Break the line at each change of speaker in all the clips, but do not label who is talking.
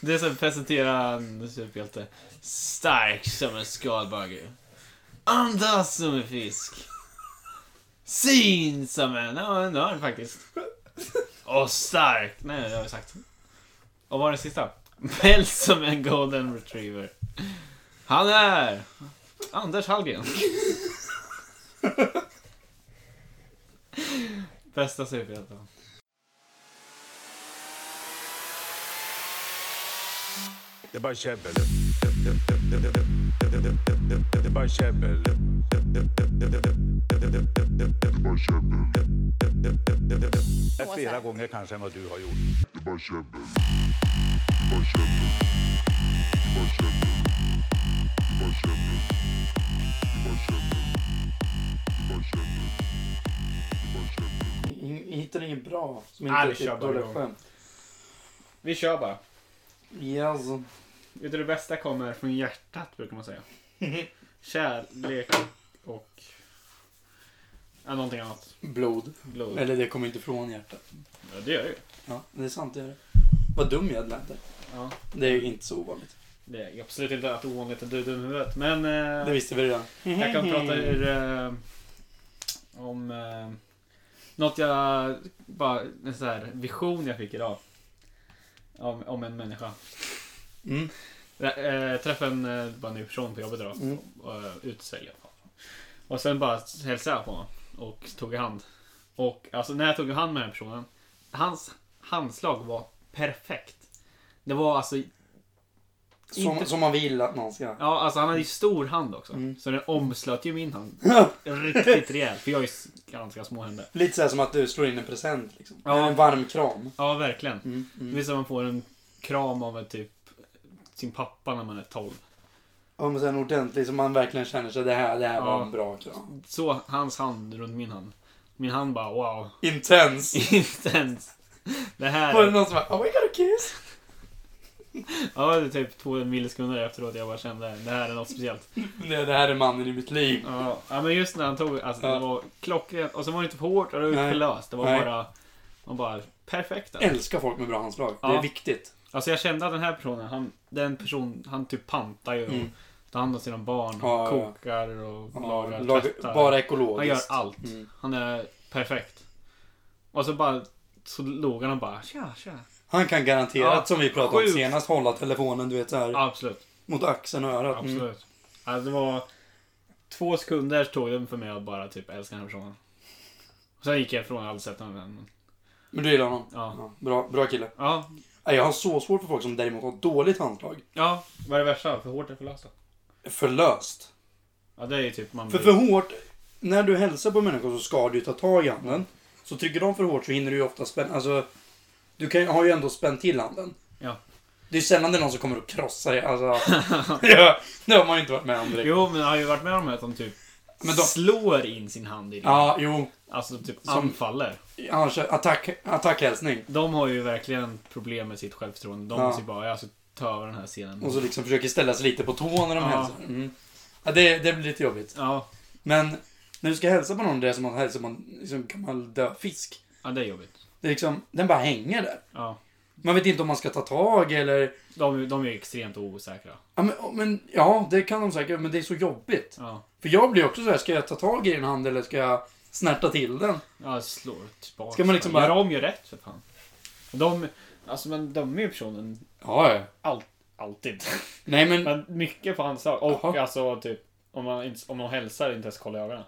Det är så presenterar en superhjälte. Stark som en skalbagge. Andas som en fisk. Syn som en... Ja, det har den faktiskt. Och stark. Nej, det har jag sagt. Och vad var den sista? Päls som en golden retriever. Han är... Anders Hallgren. Bästa superhjälten.
Det är bara käbbel. Det- det- det- det- det- det- det- det- det- Det är bara käbbel. Det- det- det- det- det- det- det- det- det- det- Det- det- det- det- det- det- det- Flera gånger kanske än vad du har gjort.
Ing- Hittar inget bra som
Nej,
inte
vi
är
kör
typ
bara
dåliga
igång.
skämt.
Vi kör bara.
Yes.
Vet du, det bästa kommer från hjärtat brukar man säga. Kärlek och... Ja, någonting annat.
Blod.
Blod.
Eller det kommer inte från hjärtat.
Ja, det gör det ju.
Ja, det är sant det är det. Vad dum jag lät.
Ja.
Det är ju inte så ovanligt.
Det är absolut inte att ovanligt att du är dum i huvudet. Men eh,
Det visste vi redan.
jag kan prata ur, eh, om eh, något jag... Bara en sån här vision jag fick idag. Om, om en människa.
Mm.
Jag eh, träffade en, eh, bara en ny person på jobbet idag.
Mm.
Eh, Utestängd i alla fall. Och sen bara hälsade jag på honom. Och tog i hand. Och alltså när jag tog i hand med den här personen. Hans handslag var perfekt. Det var alltså...
Som,
Inte-
som man vill att någon ska.
Ja, alltså han hade ju stor hand också.
Mm.
Så den omslöt ju min hand. Riktigt rejält. För jag har ju s- ganska små händer.
Lite så här som att du slår in en present liksom.
Ja.
En varm kram.
Ja, verkligen.
Mm,
Det
mm.
är som man får en kram av en typ sin pappa när man är 12.
Ja, men sen ordentlig så man verkligen känner sig det här, det här var
Ja.
en bra kram.
Så hans hand runt min hand. Min hand bara wow.
Intens.
Inte ens. Det här...
Var det någon som bara oh, we got a kiss?
Ja, det är typ två millisekunder efteråt jag bara kände det här är något speciellt.
Nej, det här är mannen i mitt liv.
Ja, ja, men just när han tog, alltså
Ja.
det var klockrent. Och så var det inte för hårt och det var inte
Nej.
för löst. Det var
Nej.
bara, man bara perfekt. Alltså.
Älskar folk med bra handslag. Det
Ja.
är viktigt.
alltså jag kände att den här personen, han, den person, han typ pantar ju och
Mm.
tar hand om sina barn och
Ja, ja, ja.
kokar och
Ja,
lagar,
lag-
tvättar.
bara
han gör
ekologiskt.
allt.
Mm.
Han är perfekt. Och så bara, så låg han och bara tja, tja.
Han kan garanterat,
Ja,
som vi pratade om
sjukt.
senast, hålla telefonen du vet så här
Absolut.
mot axeln och örat. Mm.
Absolut. Alltså, det var två sekunder tog det för mig att bara typ älska den här personen. Och sen gick jag ifrån, jag har aldrig sett honom igen. men-
Men du gillar honom?
Ja.
Ja, bra, bra kille.
Ja.
Nej, Jag har så svårt för folk som däremot har dåligt handlag.
ja. Vad är det värsta? För hårt eller för löst då?
För löst.
Ja, det är ju typ man
För för hårt, när du hälsar på människor så ska du ju ta tag i handen. Så trycker de för hårt så hinner du ju ofta spänna, alltså. Du kan, har ju ändå spänt till handen.
Ja.
Det är sällan det är någon som kommer och krossar dig, alltså. ja, det har man ju inte varit med om direkt.
Jo, men jag har ju varit med om att de typ
Men de-
slår in sin hand i det.
Ja, jo.
Alltså typ
Som-
anfaller.
Annars, attack, attackhälsning.
De har ju verkligen problem med sitt självförtroende. De
Ja.
måste ju bara, jag ska ta över den här scenen.
Och så liksom försöker ställa sig lite på tå när de
Ja.
hälsar. Mm. Ja, det, det blir lite jobbigt.
Ja.
Men när du ska hälsa på någon, det är som att hälsa på en liksom, gammal död fisk.
ja, det är jobbigt.
Det är liksom, den bara hänger där.
Ja.
Man vet inte om man ska ta tag eller...
De, de är ju extremt osäkra.
Ja, men, men, ja, det kan de säkert, men det är så jobbigt.
Ja.
För jag blir också så här, ska jag ta tag i din hand eller ska jag snärta till den?
Ja, slår tillbaka.
Ska man liksom
Gör
bara-
om, gör rätt för fan. Och De, alltså man dömer ju personen
Ja, ja.
all, alltid.
Nej, men...
Men mycket på handslag. Och
Jaha.
alltså typ, om man, inte- om man hälsar inte ens kolla i ögonen.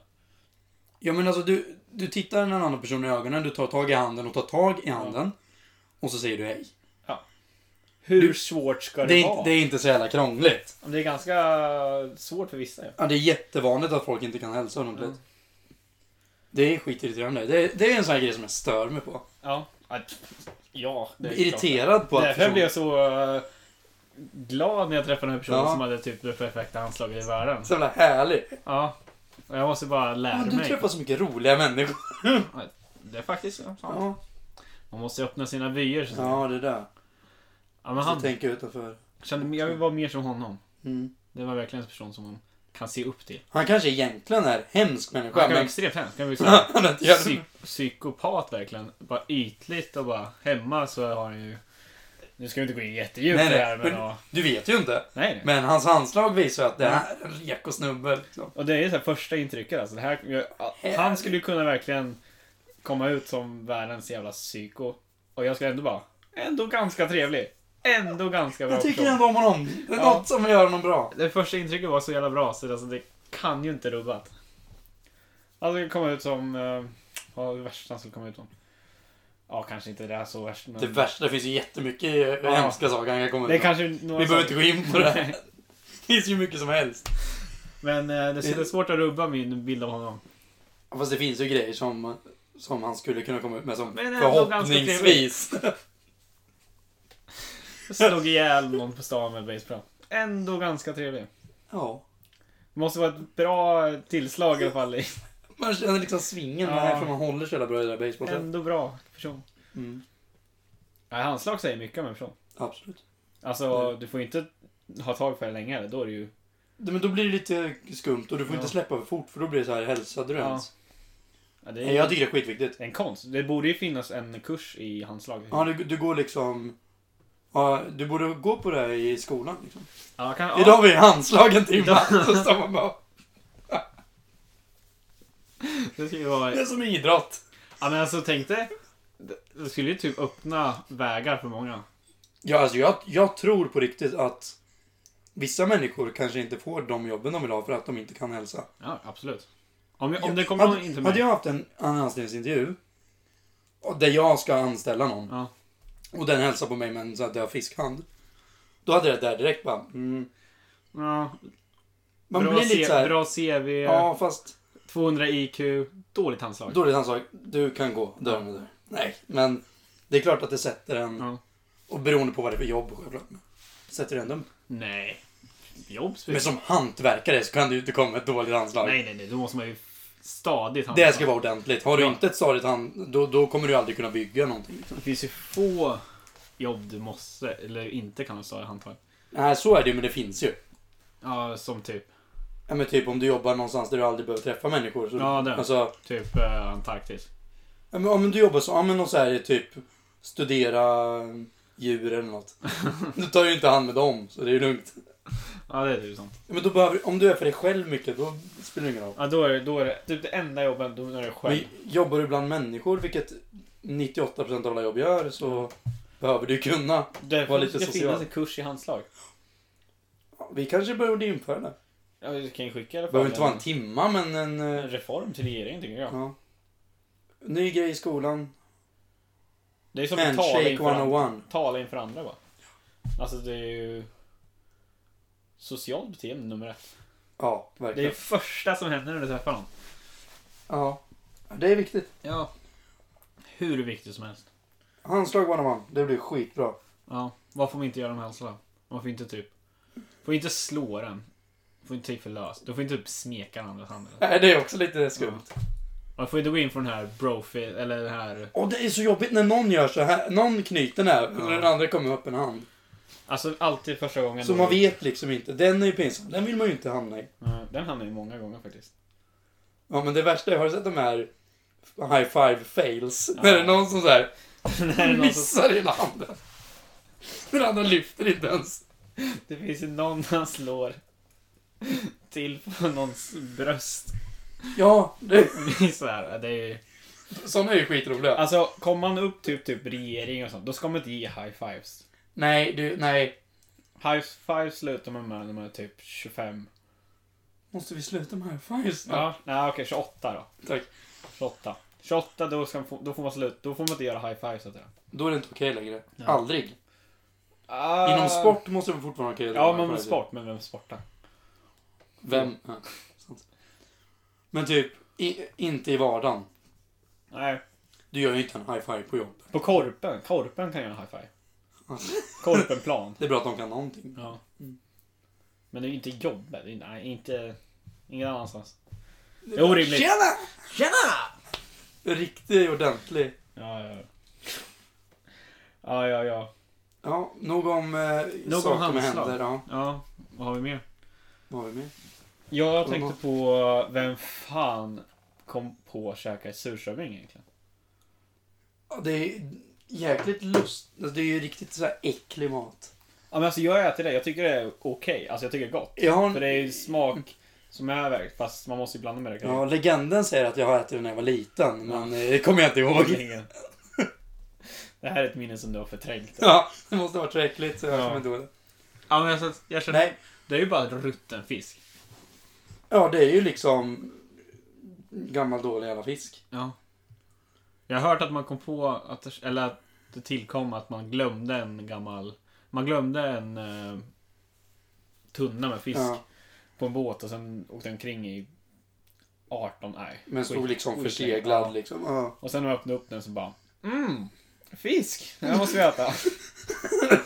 Ja, men alltså du, du tittar en annan person i ögonen, du tar tag i handen och tar tag i handen. Och så säger du hej.
Hur
Du-
svårt ska det,
Det är,
vara?
inte- det är inte så jävla krångligt.
Det är ganska svårt för vissa ju.
Ja, det är jättevanligt att folk inte kan hälsa ordentligt.
Ja.
Det är skitirriterande. Det är, det är en sån här grej som jag stör mig på.
Ja. Att- Ja, det
Jag
är
blir
klart.
irriterad på att...
Därför
person-
blev jag så eh, glad när jag träffade den här personen
Ja.
som hade typ det perfekta handslaget i världen.
Så jävla härlig.
Ja. Och jag måste bara lära
Ja, du
mig.
träffar så mycket roliga människor.
Det är faktiskt sant.
Ja,
Man måste öppna sina vyer. så att säga.
ja det där.
Ja, men
Så
han,
tänker jag utanför.
Kände, jag vill vara mer som honom.
Mm.
Det var verkligen en person som man kan se upp till.
Han kanske egentligen är hemsk människa,
Han kan vara
men...
extremt hemsk. Han kan vara
Han är inte
så här
jävla-
psyk psykopat verkligen. Bara ytligt och bara hemma så har han ju Nu ska vi inte gå in jättedjupt
Nej,
i
nej,
det här men...
men-
ja.
Du vet ju inte.
Nej, nej.
Men hans handslag visar ju att det här är en reko snubbe. Liksom.
Och det är ju så här första intrycket alltså. Det här, jag,
Eh.
han skulle ju kunna verkligen komma ut som världens jävla psyko. Och jag skulle ändå bara, ändå ganska trevlig. Ändå ganska bra
Jag tycker
person.
ändå om honom. Det är
Ja.
något som gör honom bra.
Det första intrycket var så jävla bra så det, alltså, det kan ju inte rubbat. Alltså det kom ut som... Eh, vad var det värsta han skulle komma ut som? Ja, kanske inte det här så värst men...
Det värsta, det finns ju jättemycket ja. hemska saker han kan komma ut
det är
med.
kanske några
Vi behöver inte
saker.
gå in på det. Det finns ju mycket som helst.
Men eh, det är svårt att rubba min bild av honom.
Fast det finns ju grejer som, som han skulle kunna komma ut med som
Men ändå
förhoppningsvis.
Jag slog ihjäl någon på stan med baseball. Ändå ganska trevlig.
Ja.
Det måste vara ett bra tillslag i alla fall.
Man känner liksom svingen.
Ja.
Ja. Därför man håller så jävla bra i det där basebollspelet.
Ändå bra person.
Mm.
Nej, handslag säger mycket om en person.
Absolut.
Alltså, du får inte ha tag för det länge eller då är det ju...
Det- Men då blir det lite skumt och du får
Ja.
inte släppa för fort för då blir det så här hälsade du
Ja.
ens?
Ja, det är
Nej, Jag tycker det är skitviktigt.
en konst. Det borde ju finnas en kurs i handslag.
Ja, du, du går liksom... Ja, du borde gå på det här i skolan. Liksom.
Ja, kan,
Idag har
ja,
vi handslagen timme.
Idag-
Så står man bara,
det skulle ju vara...
Det är som idrott.
Ja, men alltså tänk dig. Det skulle ju typ öppna vägar för många.
Ja, alltså jag, jag tror på riktigt att vissa människor kanske inte får de jobben de vill ha för att de inte kan hälsa.
Ja, absolut. Om, jag- om det kommer någon
hade,
in till
hade
mig.
jag haft en anställningsintervju och där jag ska anställa någon
Ja.
och den hälsar på mig med en sån här död fiskhand. Då hade det där direkt bara... Mm,
Ja,
man
bra,
blir lite
C-
så här...
bra CV,
Ja, fast
200 IQ, dåligt handslag.
dåligt handslag. Du kan gå. Dörren är där. Nej, men det är klart att det sätter en...
Ja.
Och beroende på vad det är för jobb självklart. Sätter det ändå en
Typ. Nej. Jobb
Men
spelar-
som hantverkare så kan du inte komma med ett dåligt handslag.
Nej, nej, nej. Då måste man ju stadigt handslag.
Det ska vara ordentligt. Har du
Ja.
inte ett stadigt hand, då, då kommer du aldrig kunna bygga någonting. Liksom.
Det finns ju få jobb du måste, eller inte kan ha stadigt handtag.
Nej, så är det ju, men det finns ju.
Ja, som typ,
Ja, men typ om du jobbar någonstans där du aldrig behöver träffa människor. Så,
Ja, det.
Alltså,
typ eh, Antarktis.
ja, men om du jobbar så, ja men någon så här typ studera djur eller något. Du tar ju inte hand med dem, så det är lugnt.
Ja, det är typ sånt.
Ja, men då behöver, om du är för dig själv mycket, då spelar det ingen roll.
Ja, då är det, då är det typ det enda jobben då är det själv.
Men jobbar du bland människor, vilket 98% av alla jobb gör, så behöver du kunna.
det
var lite
det
social.
finnas en kurs i handslag.
Ja, Vi kanske borde införa det.
Ja, du kan ju skicka i alla
Det
fall
behöver inte vara en timma, men en... eh,
en reform till regeringen tycker jag.
Ja. Ny grej i skolan.
Det är som att tala
Handshake
inför, andra,
101.
tala inför andra bara. Alltså det är ju... Socialt beteende nummer ett.
Ja,
Det är
verkligen.
det första som händer när du träffar någon.
Ja. Det är viktigt.
Ja. Hur viktigt som helst.
Handslag 101. Det blir skitbra.
Ja. Vad får man inte göra med handslag? Man får inte typ... Får inte slå den. Får inte typ för löst. Du får inte typ smeka den andras hand.
Nej, det är också lite skumt.
Man får inte gå in för den här brofi... Eller den här...
Och det är så jobbigt när någon gör så här. Någon knyter näven och
Ja.
den andra kommer med öppen hand.
Alltså alltid första gången.
Så
då-
man vet liksom inte. Den är ju pinsam. Den vill man ju inte hamna i.
Ja, Den hamnar ju många gånger faktiskt.
Ja, men det värsta är, har du sett de här high five fails? När det är någon som så här
När det, är någon som,
missar hela handen. Den andra lyfter inte ens.
det finns ju någon han slår till på någons bröst.
Ja, det,
Så här, det är ju...
sådana är ju skitroliga.
Alltså, kommer man upp typ, typ regering och sånt, då ska man inte ge high-fives.
Nej, du, nej.
High-fives slutar man med när man är typ 25.
Måste vi sluta med high-fives?
Ja, nej okej, 28 då.
Tack.
28. 28, då, ska man få, då får man slut, då får man inte göra high-fives. så att säga.
Då är det inte okej längre.
Ja.
Aldrig. Inom sport måste det fortfarande vara okej. att
Ja,
göra
men med
high-fives.
sport, men vem sportar?
Vem? Ja, sant. Men typ, i, inte i vardagen.
Nej.
Du gör ju inte en high-five på jobb.
På korpen, korpen kan göra high-five.
Ja.
Korpenplan.
Det är bra att de kan någonting.
Ja.
Mm.
Men det är ju inte jobbet. Det är- Nej, inte... Ingen annanstans. Det är orimligt.
Tjena!
Tjena!
Riktig, ordentlig.
Ja, ja, ja. Ja, ja, ja.
Ja, nog om eh,
om
saker med
handslag.
händer. Ja,
Ja, vad har vi mer?
vad har vi mer?
Jag tänkte på vem fan kom på att käka surströmming egentligen?
Ja, det är, jäkligt lust... Alltså, det är ju riktigt så här äcklig mat.
Ja, men alltså jag äter det. Jag tycker det är okej. Alltså jag tycker det är gott.
Jag har en-
För det är ju smak som är övervägt. Fast man måste ju blanda med det
Ja,
kanske. legenden
legenden säger att jag har ätit den när jag var liten, men eh, det kommer jag inte ihåg.
Det här är ett minne som du har förträngt.
Ja, det måste ha varit så äckligt så jag
Ja.
kommer inte ihåg det.
Ja, men alltså, jag känner,
Nej,
det är ju bara rutten fisk.
ja det är ju liksom gammal dålig jävla fisk.
Ja. Jag har hört att man kom på, att, det- eller att det tillkom att man glömde en gammal... Man glömde en eh, tunna med fisk
Ja,
På en båt och sen åkte den omkring i 18, nej.
men stod
skit-
liksom
skit-
förseglad
Ja.
liksom. Ja.
Och sen när jag öppnade upp den så bara Mm, fisk! Det här måste vi äta.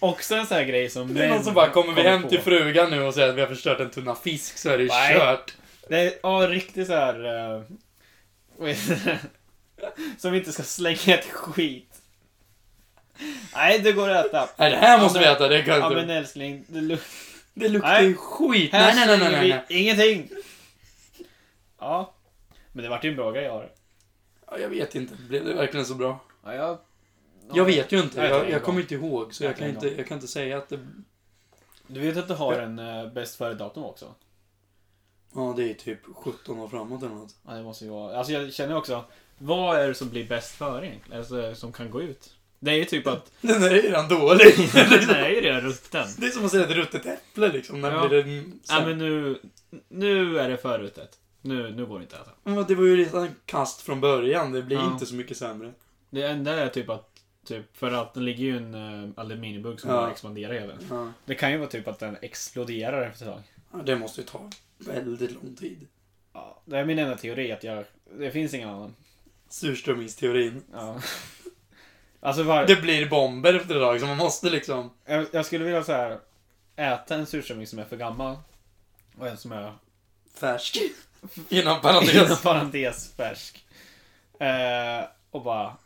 Också en sån här grej som
Det är någon
män
som bara, kommer vi hem
på.
till frugan nu och säger att vi har förstört en tunna fisk så är det ju
Nej.
kört.
Det är ja, riktigt så här... eh, vad heter det? som inte ska slänga ett skit. Nej, det går att äta.
Nej, det här måste
Ja,
vi
men-
äta, det kan
Ja
jag
men
inte.
älskling, det luk-
Det luktar
Nej.
ju skit.
här
eh, Nej, nej, nej, nej,
slänger
nej. nej.
vi ingenting! Ja, men det vart ju en bra grej av det.
Ja, jag vet inte, blev det verkligen så bra?
Ja, jag...
Jag vet ju inte,
Jag vet
jag,
det
jag
en
kommer
gång.
inte ihåg så
Jag
jag
vet
kan
det en
inte,
gång.
jag kan inte säga att det...
Du vet att du har en eh, bäst före-datum också?
Ja, det är typ 17 år framåt eller något.
Ja, det måste ju vara... Alltså jag känner
Men också, vad är det som blir bäst före egentligen? Alltså, som kan gå ut? Det är ju typ att...
Den är ju redan dålig.
Den är ju redan rutten.
Det är som att säga ett ruttet äpple liksom. När
Ja.
blir det
Ja, men nu... Nu är det förrutet. Nu, nu går det inte alltså. att äta.
men... Det var ju redan kast från början. Det blir
Ja.
inte så mycket sämre.
Det enda är typ att... Typ, för att det ligger ju en eh, aluminiumburk som
Ja.
bara expanderar hela tiden.
Ja.
Det kan ju vara typ att den exploderar efter ett tag.
Det måste ju ta väldigt lång tid.
Ja, det är min enda teori att jag... Det finns ingen annan.
Surströmmingsteorin.
Ja. Alltså var...
Det blir bomber efter ett tag så man måste liksom...
jag, jag skulle vilja så här äta en surströmming som är för gammal och en som är
Färsk. Inom
inom
parentes.
parentes färsk. Eh, och bara...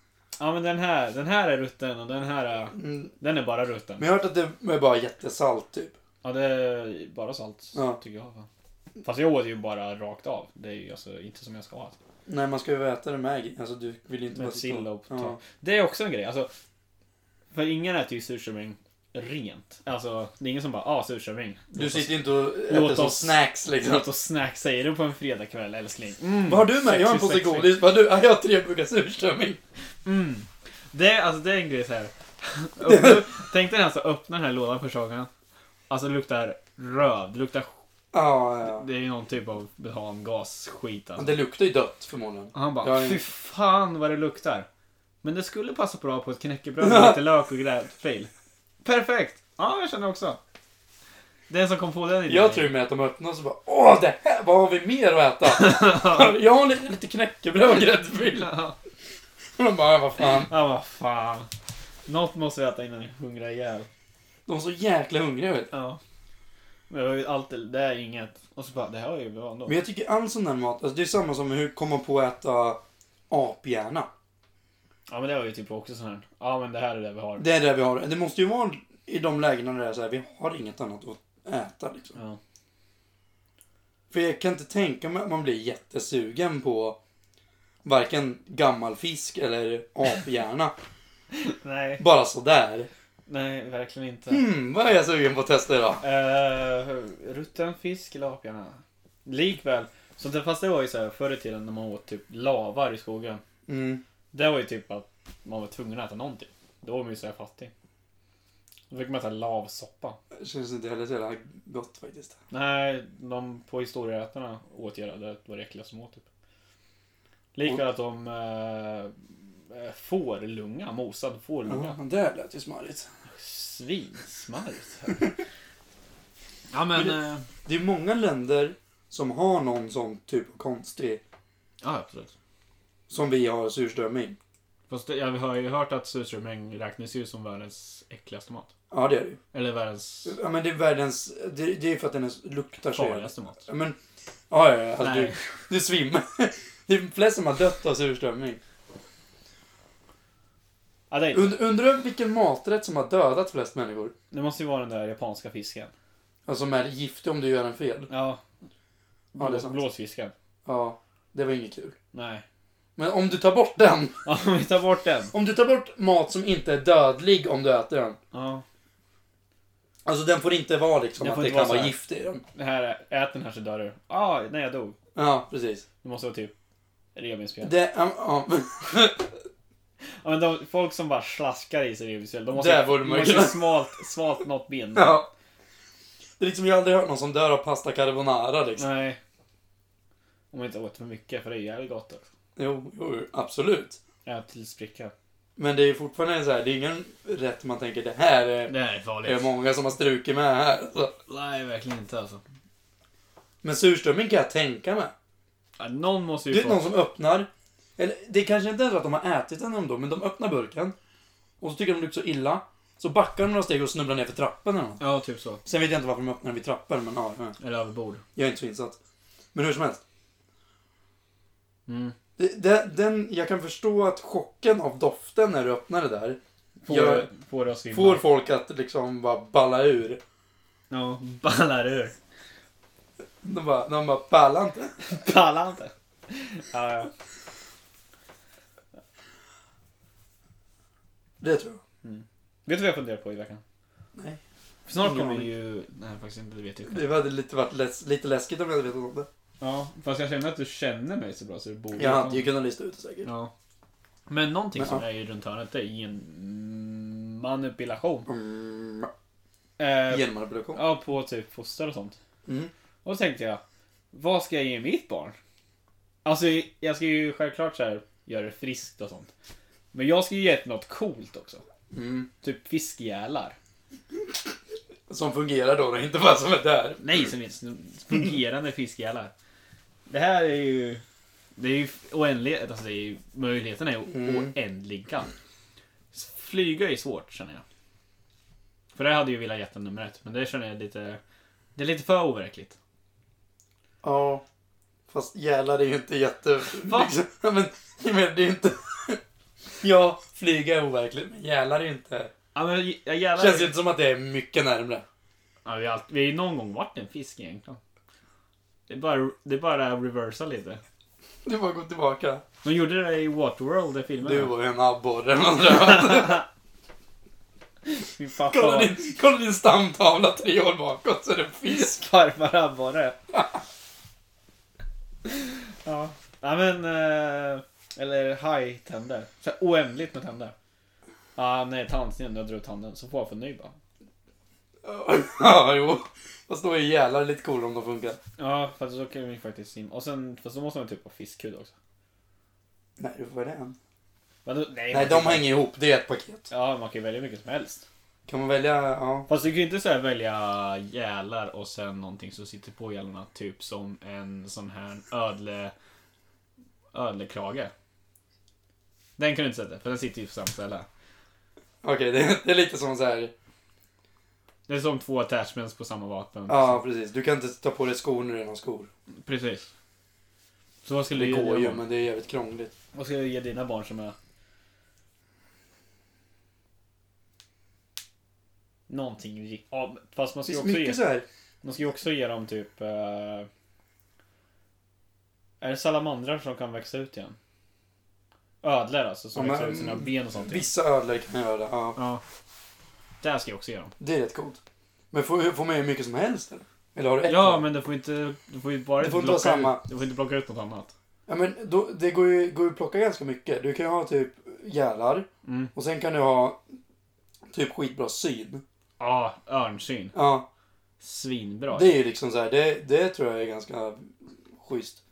Ja men den här, den här är rutten och den här är,
Mm.
den är bara rutten.
Men jag har hört att det är bara jättesalt typ.
Ja det är bara salt
Ja.
tycker jag. fan. Fast jag åt ju bara rakt av. Det är ju alltså inte som jag ska ha.
Nej, man ska ju äta det med... Alltså du vill ju inte
Med
bara sitta
sill och potatis.
Ja.
Det är också en grej. Alltså, för ingen äter ju surströmming rent. Alltså, det är ingen som bara ah surströmming.
Du sitter ju inte och
Låt
äter som
oss-
snacks liksom.
Låt oss snack säger du på en fredagkväll älskling. Mm,
Vad har du med? Jag har en påse
sexy, sexy.
godis. Vad har du? Ja, Jag har tre burkar surströmming.
Mm. Det, är- alltså, det är en grej så här. Öppna- Tänk dig alltså öppna den här lådan första gången. Alltså det luktar röv. Det luktar...
Ja, ja, ja.
Det är ju någon typ av butangasskit
Men
alltså.
Det luktar ju dött förmodligen.
Och han
Jag
bara,
har ingen-
fy fan vad det luktar. Men det skulle passa bra på ett knäckebröd med lite lök och gräddfil. Perfekt! Ja, jag känner också. Den som kom på den idén.
Jag tror ju med att de öppnar och så bara Åh, det här, vad har vi mer att äta? jag har lite, lite knäckebröd och gräddfil.
Ja,
Och de bara, vad fan.
Ja vad fan. Något måste vi äta innan jag hungrar ihjäl.
De är så jäkla hungriga vet du.
Ja. Men det var ju alltid, det är inget. Och så bara, det här är ju bra ändå.
Men jag tycker all sån där mat, alltså det är samma som hur komma på att äta aphjärna.
Ja men det var ju typ också sån här. Ja men det här är det vi har.
Det är det vi har. Det måste ju vara i de lägena där det är så här, vi har inget annat att äta liksom.
Ja.
För jag kan inte tänka mig att man blir jättesugen på varken gammal fisk eller aphjärna.
Nej,
Bara sådär.
nej verkligen inte.
Hmm, vad är jag sugen på att testa idag?
Eh, rutten fisk eller apjärna? Likväl. Så det, fast det var ju så här förr i tiden när man åt typ lavar i skogen.
Mm.
Det var ju typ att man var tvungen att äta någonting. Då var man ju så här fattig. Då fick man äta lavsoppa.
Det känns inte heller så jävla gott faktiskt.
Nej, de på historieätarna åt ju det. Det var det äckligaste de åt typ. Likväl att de eh, fårlunga, mosad fårlunga.
Ja, men det lät ju smarrigt.
Svinsmarrigt.
ja men... eh,
Det är många länder som har någon sån typ av konstig
Ja, absolut.
som vi har surströmming.
Fast det- jag har ju hört att surströmming räknas ju som världens äckligaste mat.
Ja, det är det ju.
Eller världens
Ja, men det är världens... Det, det är för att den är- luktar så jävla-
farligaste mat.
Ja, men... Ja, ja, ja. Alltså,
Nej.
du, du svimmar. Det är flest som har dött av surströmming.
Ja, det, är,
Und, undrar vilken maträtt som har dödat flest människor?
det måste ju vara den där japanska fisken.
Alltså som är giftig om du gör en fel.
Ja.
Ja, det är sant.
Blåsfisken.
Ja, det var inget kul.
Nej.
Men om du tar bort den.
Ja, om vi tar bort den.
Om du tar bort mat som inte är dödlig om du äter den.
Ja.
Alltså den får inte vara liksom
Den
att
får
det
inte
kan
vara
vara
så här.
gift i den.
Det här, är- ät den här så dör du. Ah, nej jag dog.
Ja, precis.
Det måste vara typ revbensspjäll.
Det, ja,
Mm.
ja.
Ja, men de, folk som bara slaskar i sig revbensspjäll, de
Där
måste
vore det
de måste
möjligt.
smalt, smalt något ben.
ja. Det är liksom, jag har aldrig hört någon som dör av pasta carbonara liksom.
Nej. Om man inte åt för mycket, för det är jävligt gott också.
Jo, jo, absolut.
Ät till spricka.
Men det är fortfarande så här, det är ingen rätt man tänker det här är,
Det här är
det är
farligt.
många som har strukit med här. Så.
Nej, verkligen inte alltså.
Men surströmming kan jag tänka mig.
Ja, någon måste ju
Det är
få...
någon som öppnar. Eller det är kanske inte ens att de har ätit den ändå, men de öppnar burken. Och så tycker de det luktar så illa. Så backar de några steg och snubblar ner för trappen eller något.
Ja, typ så.
Sen vet jag inte varför de öppnar vid trappen, men ja, ja,
Eller över bord.
jag är inte så insatt. Men hur som helst.
Mm.
Det, det, den, jag kan förstå att chocken av doften när du öppnar det där
Får,
Jag-
får det att svimma.
får folk att liksom bara balla ur.
Ja, ballar ur.
De bara, de bara pallar inte.
Pallar inte. Ja, ja.
Det tror jag.
Vet du vad jag funderar på i veckan?
Nej.
För snart
Ingen
kommer
aning.
ju... Nej, faktiskt inte. Det vet jag inte.
Det hade lite varit läs, lite läskigt om jag hade vetat om det.
Ja, fast jag känner att du känner mig så bra så du borde...
Jag hade ju kunnat lista ut det säkert.
Ja. Men någonting
Men,
som
ja.
är ju runt hörnet det är gen- manipulation.
Mm,
Eh,
genmanipulation.
ja, på typ foster och sånt.
Mm.
Och då tänkte jag, vad ska jag ge mitt barn? Alltså, jag ska ju självklart så här, göra det friskt och sånt. Men jag ska ju ge det något coolt också.
Mm.
Typ fiskgälar.
Som fungerar då, det är inte bara som är där.
Nej, som är fungerande fiskgälar. Det här är ju...
Det är ju oändligt. Alltså, det är ju... Möjligheterna är o-
Mm.
oändliga. S- Flyga är svårt, känner jag. För det hade ju velat gett en nummer ett, men det känner jag lite... Det är lite för overkligt.
Ja. Fast gälar är ju inte jätte...
Va?
Liksom, ja, men, jag menar, det är ju inte... ja, flyga är overkligt, men gälar är ju inte...
Ja, men jag gillar...
Känns ju inte som att det är mycket närmre.
Ja, vi, har allt, vi har ju någon gång varit en fisk egentligen. Det är bara, det är bara att reversa lite.
Du bara gå tillbaka.
De gjorde det i Waterworld, den filmen.
Du var ju en abborre man drömde.
Min pappa
kolla,
var
din, kolla din stamtavla tre år bakåt så är det en fisk.
farfar abborre. ja. ja, men... Eh, eller haj-tänder. Så här Oändligt med tänder. Ah, nej, tandsned. Jag drar ut tanden. Så får jag få en ny bara.
ja, jo. Fast då är gälar lite coolare om de funkar.
Ja, fast så kan vi faktiskt simma. Och sen, fast då måste man typ ha fiskhud också.
Nej, du får välja en.
Men då, nej,
Nej,
man
de
kan-
hänger ihop. Det är ett paket.
Ja, man kan ju välja mycket som helst.
Kan man välja... Ja.
Fast du kan ju inte så här välja gälar och sen någonting som sitter på gälarna. Typ som en sån här ödle... Ödlekrage. Den kan du inte sätta, för den sitter ju på samma ställe.
Okej, det, det är lite som så här...
Det är som två attachments på samma vapen.
Ja, precis. Du kan inte ta på dig skor när du har skor.
Precis. Så vad skulle
Det
du ge
går
dig
ju,
om?
men det är jävligt krångligt.
Vad ska du ge dina barn som är... Någonting. Ja, fast man
Det
ska ju också
finns
ge
mycket så här.
Man ska ju också ge dem typ... eh, är det salamandrar som kan växa ut igen? Ödlor alltså, som
Ja, men-
växer ut sina ben och sånt. igen.
Vissa ödlor kan göra det. Ja,
Ja. Där ska jag också ge dem.
det är rätt coolt. Men får, får man ju mycket som helst eller? Eller har du ett?
Ja,
val?
men du får inte... Du får ju bara
Du får inte ha
plocka
samma.
Ut, du får inte plocka ut något annat.
ja, men då, det går ju, går ju att plocka ganska mycket. Du kan ju ha typ gälar.
Mm.
Och sen kan du ha typ skitbra syn.
Ja, örnsyn.
Ja,
Svinbra.
det
Det...
är ju liksom så här. Det, det tror jag är ganska schysst.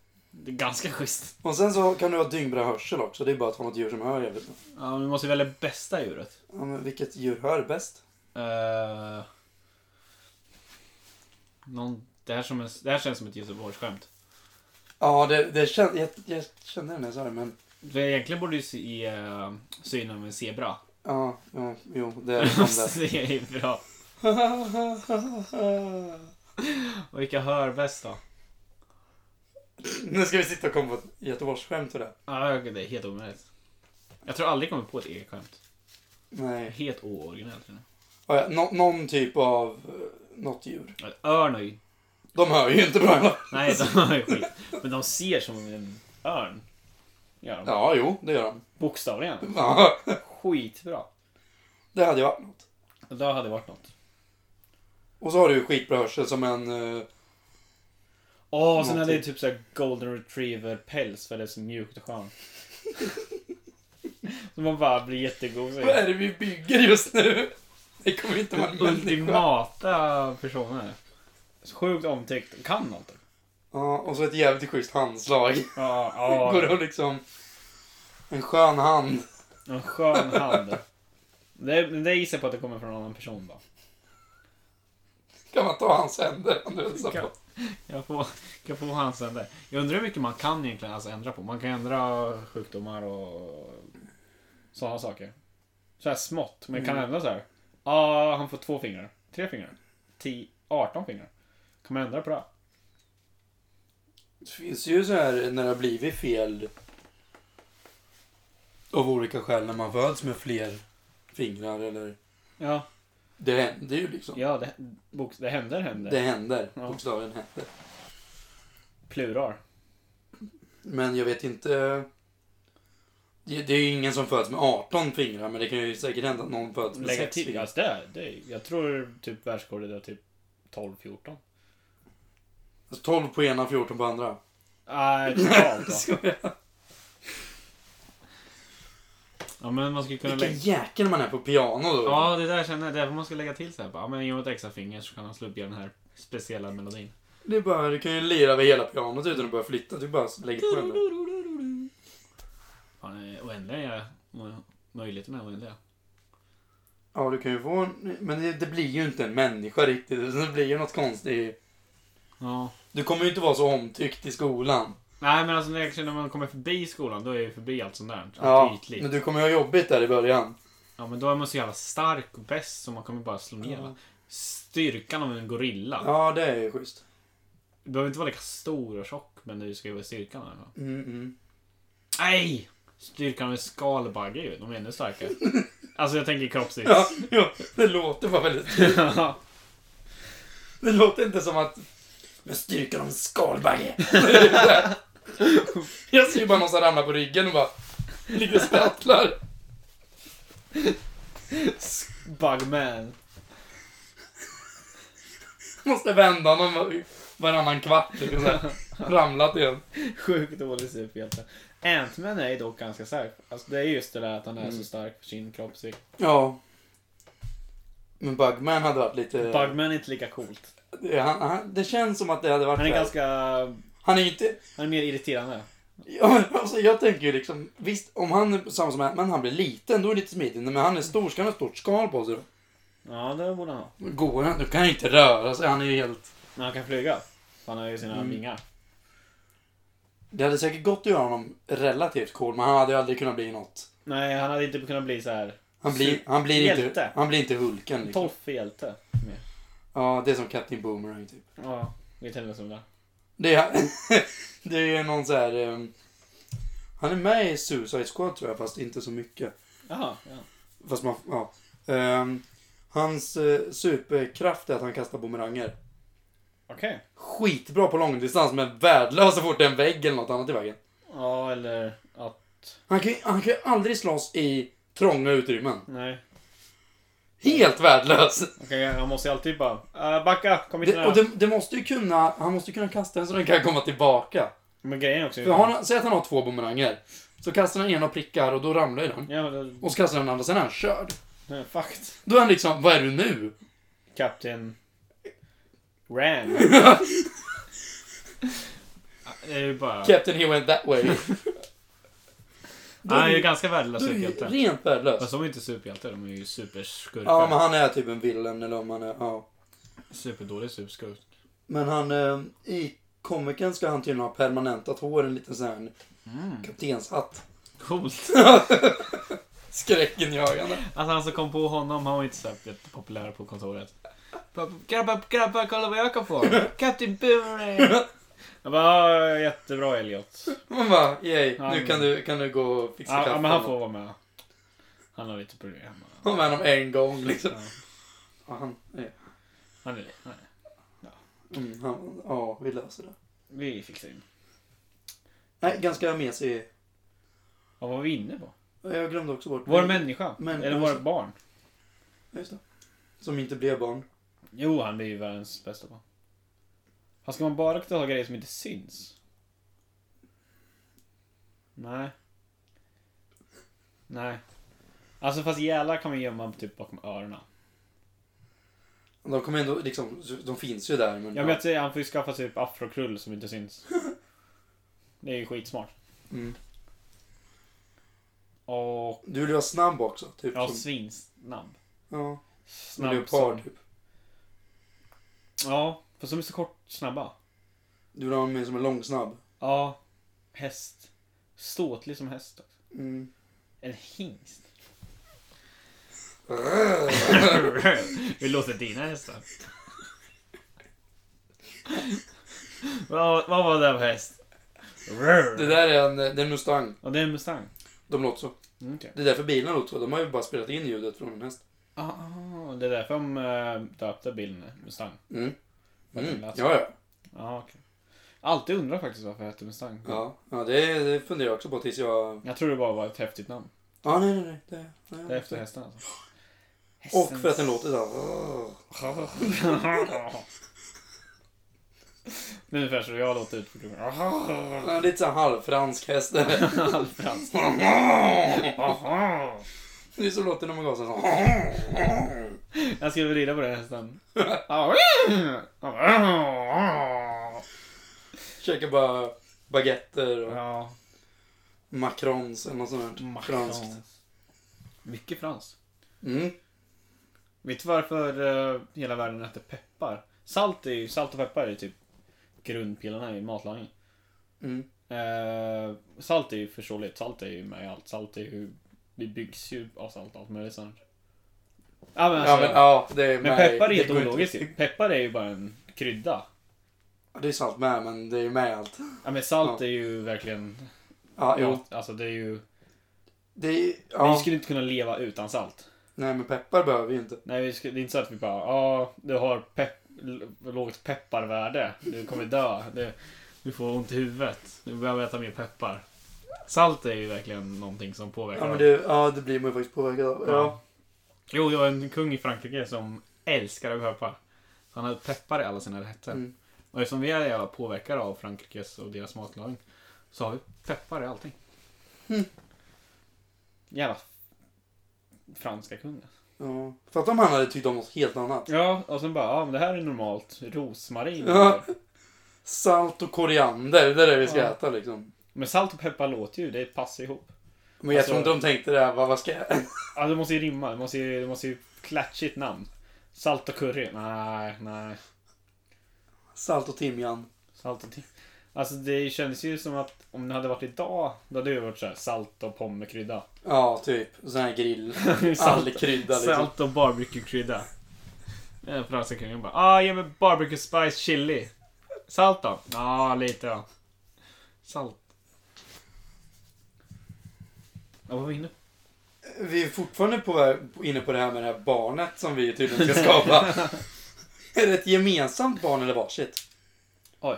är ganska schysst.
Och sen så kan du ha dyngbra hörsel också. Det är bara att ha något djur som hör jävligt.
Ja, men vi måste välja bästa djuret.
Ja, men vilket djur hör bäst?
Uh... Någon... Det, här som en... det här känns som ett Göteborgsskämt.
Ja, det, det kän, jag, jag kände det när jag sa det, men...
För egentligen borde du se i uh, synen av en zebra.
Ja, ja jo, det är som
det är ju bra.
det.
Och vilka hör bäst då?
Nu ska vi sitta och komma på ett Göteborgsskämt och det.
Ja, det är helt omöjligt. Jag tror aldrig jag kommer på ett eget skämt.
Nej.
Helt ooriginellt. känner
Ja, ja, nå- någon typ av... eh, Något djur.
jag. Örn har ju
De hör ju inte bra.
Nej, de har ju skit. Men de ser som en örn.
Gör de.
Ja, jo, det gör han.
Bokstavligen.
Ja,
Skitbra.
det hade ju varit något.
Det hade varit något.
Och så har du ju skitbra hörsel som en... eh,
Åh, sen hade
Någonting.
jag typ såhär golden retriever päls för det är så mjukt och skönt. så man bara blir
Vad
jättegosig.
är det vi bygger just nu? Det kommer inte vara en människa.
Ultimata personer. Så Sjukt omtyckt. Kan någonting.
Ja, och så ett jävligt schysst handslag.
Ja,
Går det
ja.
att liksom... En skön hand.
En skön hand. Det, det gissar jag på att det kommer från en annan person bara.
Kan man ta hans händer? och hälsa på?
Jag får, jag får hans händer. Jag undrar hur mycket man kan egentligen alltså ändra på. Man kan ändra...
Sjukdomar och sådana saker. Så här smått, men kan ändra så här. Ja, han får två fingrar. Tre fingrar. 10, 18 fingrar. Kan man ändra på det?
Det finns ju så här när det har blivit fel av olika skäl när man föds med fler fingrar eller...
Ja,
Det händer ju liksom.
ja det, bok, det händer händer.
Det händer.
Ja.
Bokstavligen händer.
Plural.
Men jag vet inte... Det det är ju ingen som föds med 18 fingrar men det kan ju säkert hända att någon föds med
Lägga
6
till.
fingrar.
Alltså det, det, jag tror typ världsrekordet är typ 12-14.
Alltså 12 på ena, 14 på andra.
Nej, totalt va?
Skojar.
Ja, men man skulle kunna
Vilken
lägga...
jäkel man är på piano då.
Ja, det där jag känner jag. Därför man ska lägga till så här. Bara, ja, men ge mig ett extra finger så kan han slå upp igen den här speciella melodin.
Det är bara, du kan ju lira över hela pianot utan att börja flytta. Du bara lägger på den där.
Fan, eh, oändliga mo- möjligheterna är oändliga.
Ja, du kan ju få en, Men det, det blir ju inte en människa riktigt. utan Det blir ju något konstigt.
Ja.
Du kommer ju inte vara så omtyckt i skolan.
Nej, men alltså när när man kommer förbi skolan, då är ju förbi allt sånt där. Allt
Ja,
ytligt.
men du kommer ju ha jobbigt där i början.
Ja, men då är man så jävla stark och bäst så man kommer bara slå ner.
Ja.
va? Styrkan av en gorilla.
Ja, det är ju schysst.
Du behöver inte vara lika stor och tjock, men du ska ju vara styrkan i alla fall.
Mm, mm.
Nej! Styrkan av en skalbagge ju. De är ännu starkare. alltså jag tänker kroppsvikt.
Ja, ja, det låter bara väldigt... Det låter inte som att... Men styrkan av en skalbagge. Jag ser ju bara någon som ramlar på ryggen och bara... Ligger och sprattlar.
Bugman.
Måste vända honom var- varannan kvart. Liksom, så här. Ramlat igen.
Sjukt dålig superhjälte. Ant-Man är ju dock ganska stark. Alltså det är just det där att han är så stark för sin kroppsvikt.
Ja. Men Bugman hade varit lite...
Bugman är inte lika coolt.
Det- Han, han, det känns som att det hade varit
Han är
så här.
ganska...
Han är inte...
Han är mer irriterande.
Ja, alltså jag tänker ju liksom... Visst, om han är samma som men han blir liten, då är det lite smidigt. Men han är stor, ska han ha stort skal på sig då?
Ja, det borde han ha.
Då Går han? Då kan han inte röra sig. Han är ju helt...
Men han kan flyga. Han har ju sina
Mm.
vingar.
Det hade säkert gått att göra honom relativt cool, men han hade ju aldrig kunnat bli något.
Nej, han hade inte kunnat bli så här
Han blir, han blir, inte,
Hjälte.
han blir inte Hulken liksom.
Toff hjälte. mer.
Ja, det är som Captain Boomerang typ.
Ja, vi tänder som där.
Det är, det är ju någon så här... ehm, han är med i Suicide Squad tror jag, fast inte så mycket.
Jaha, ja.
Fast man, ja. Ehm, hans eh, superkraft är att han kastar bumeranger.
Okej.
Skitbra på långdistans men värdelös så fort det är en vägg eller något annat i vägen.
Ja, eller att...
Han kan ju han kan ju aldrig slåss i trånga utrymmen.
Nej.
Helt värdelös!
Okej, han måste ju alltid bara... "Äh, backa, kom inte
Det,
nära.
och det, det måste ju kunna, han måste ju kunna kasta den så den kan komma tillbaka.
Men grejen också är
För har han, säg att han har två bumeranger. Så kastar han en och prickar och då ramlar ju den.
Ja, men
Och så kastar han den andra, sen är han körd.
det... Fakt.
Då är han liksom, vad är du nu?
Kapten... Ram.
Det är ju bara...
Captain he went that way.
Nej, det är ganska värdelös
Du är ju
superhjälte.
rent värdelös.
Fast de är ju inte superhjältar, de är ju superskurkar.
Ja, men han är typ en villain eller om han är, ja.
Superdålig superskurk.
Men han, eh, i komikern ska han tydligen ha permanentat hår, en liten sån här
Mm.
kaptenshatt.
Coolt.
Skräcken jagande.
Alltså han som kom på honom, han var inte så här populär på kontoret. Bara, Grabbar, grabbar, kolla vad jag kan få! Captain Boomerang!
Jag bara, "Ja, eh, jättebra Elliot.
Man bara, yay,
Ja,
nu
men-
kan du, kan du gå och fixa
Ja, ja,
kaffe.
men han får vara med. Han har lite problem.
Var med honom en gång liksom.
Ja.
Ja, han, eh,
Han är, han är.
mm, han, ja, vi löser det.
Vi fixar in.
Nej, ganska mesig
Ja, vad var vi inne på?
Jag glömde också bort...
Vår människa?
Men-
Eller vårt barn?
Ja, Just det. Som inte blev barn.
Jo, han blir ju världens bästa barn. Han ska man bara kunna ha grejer som inte syns? Nej. Nej. Alltså fast gälar kan man gömma typ bakom öronen.
De kommer ändå liksom... De finns ju där men...
Ja, men jag säger, han får ju skaffa sig typ afrokrull som inte syns. Det är ju skitsmart.
Mm.
Och...
Du vill ju vara snabb också. Typ
Ja,
som...
svinsnabb.
Ja. Som
Snabb
leopard
som...
typ.
Ja, fast de är så kort snabba.
Du vill ha mig som en långsnabb.
Ja. Häst. Ståtlig som häst också.
Mm.
En hingst.
Vi låter dina hästar. vad, vad var det för häst?
Det där är en, det är en Mustang.
Ja, det är en Mustang.
De låter så.
Mm, okej.
Det är därför bilarna låter så. De har ju bara spelat in ljudet från en häst.
Ah, ah, det är därför de eh, döpte bilen Mustang.
Mm.
Vad den
Mm. Ja,
lät som.
ja.
Ah, okay. Alltid undrar faktiskt varför jag hette Mustang.
Ja, ja det, det funderar jag också på tills jag...
Jag tror det bara var ett häftigt namn.
Ja, nej, nej, nej. Det, nej.
Det är efter hästen alltså.
Och för att den låter såhär...
Det är ungefär så jag låter ut på klubben.
Ja, lite såhär halvfransk häst. det
Halvfransk.
är så låter det när man gasar så.
Jag skulle rida på den hästen.
Käkar bara baguetter och
Ja,
macrons eller något sånt där. Franskt.
franskt. Mycket franskt.
Mm.
Vet du varför eh, hela världen äter peppar? Salt, är ju, salt och peppar är ju typ grundpelarna i matlagning.
Mm.
Eh, salt är ju förståeligt. Salt är ju med i allt. Salt är ju... Det byggs ju av salt, allt möjligt sånt. Ja men alltså.
ja, men, ja, det är
men
med-
peppar är
det
helt
går inte-
ologiskt ju. Peppar är ju bara en krydda.
Ja, Det är salt med, men det är med i allt.
Ja men salt
Ja.
är ju verkligen...
Ja, jo.
allt. Alltså det är ju...
Det är,
Vi
ja.
skulle inte kunna leva utan salt.
Nej, men peppar behöver vi ju inte.
Nej vi skulle, det är inte så att vi bara, ja du har pepp, l- lågt pepparvärde. Du kommer dö. Det,
Du får ont i huvudet. Du behöver äta mer peppar. Salt är ju verkligen någonting som påverkar.
Ja, men det, ja, det blir man ju faktiskt påverkad av. Ja.
Ja. Jo, det var en kung i Frankrike som älskade peppar. Så han hade peppar i alla sina rätter.
Mm.
Och eftersom vi är jävla påverkade av Frankrikes och deras matlagning så har vi peppar i allting.
Mm.
jävla franska kungen.
alltså.
ja. Fattar om han hade tyckt om något helt annat.
Ja, och sen bara, ja men det här är normalt. Rosmarin.
Ja. Salt och koriander, det är det vi ska
Ja.
äta liksom.
Men salt och peppar låter ju, det passar ihop.
Men jag
Alltså-
tror inte de tänkte det här, vad, vad ska jag
Ja, det måste ju rimma, det måste ju, det måste ju klatschigt namn. Salt och curry. Nej, nej.
Salt och timjan.
Salt och ti- Alltså det kändes ju som att om det hade varit idag, då hade det varit så här salt och pommekrydda.
Ja, typ. Sån här grill.
salt.
All krydda liksom.
Salt och barbecuekrydda. Eh, Den franska kungen bara ah, ge mig barbecue spice chili. Salt då? Ja, ah, lite då. Salt.
Ja, vad var vi inne på?
Vi är fortfarande på, vä- inne på det här med det här barnet som vi tydligen ska skapa. är det ett gemensamt barn eller varsitt?
Oj.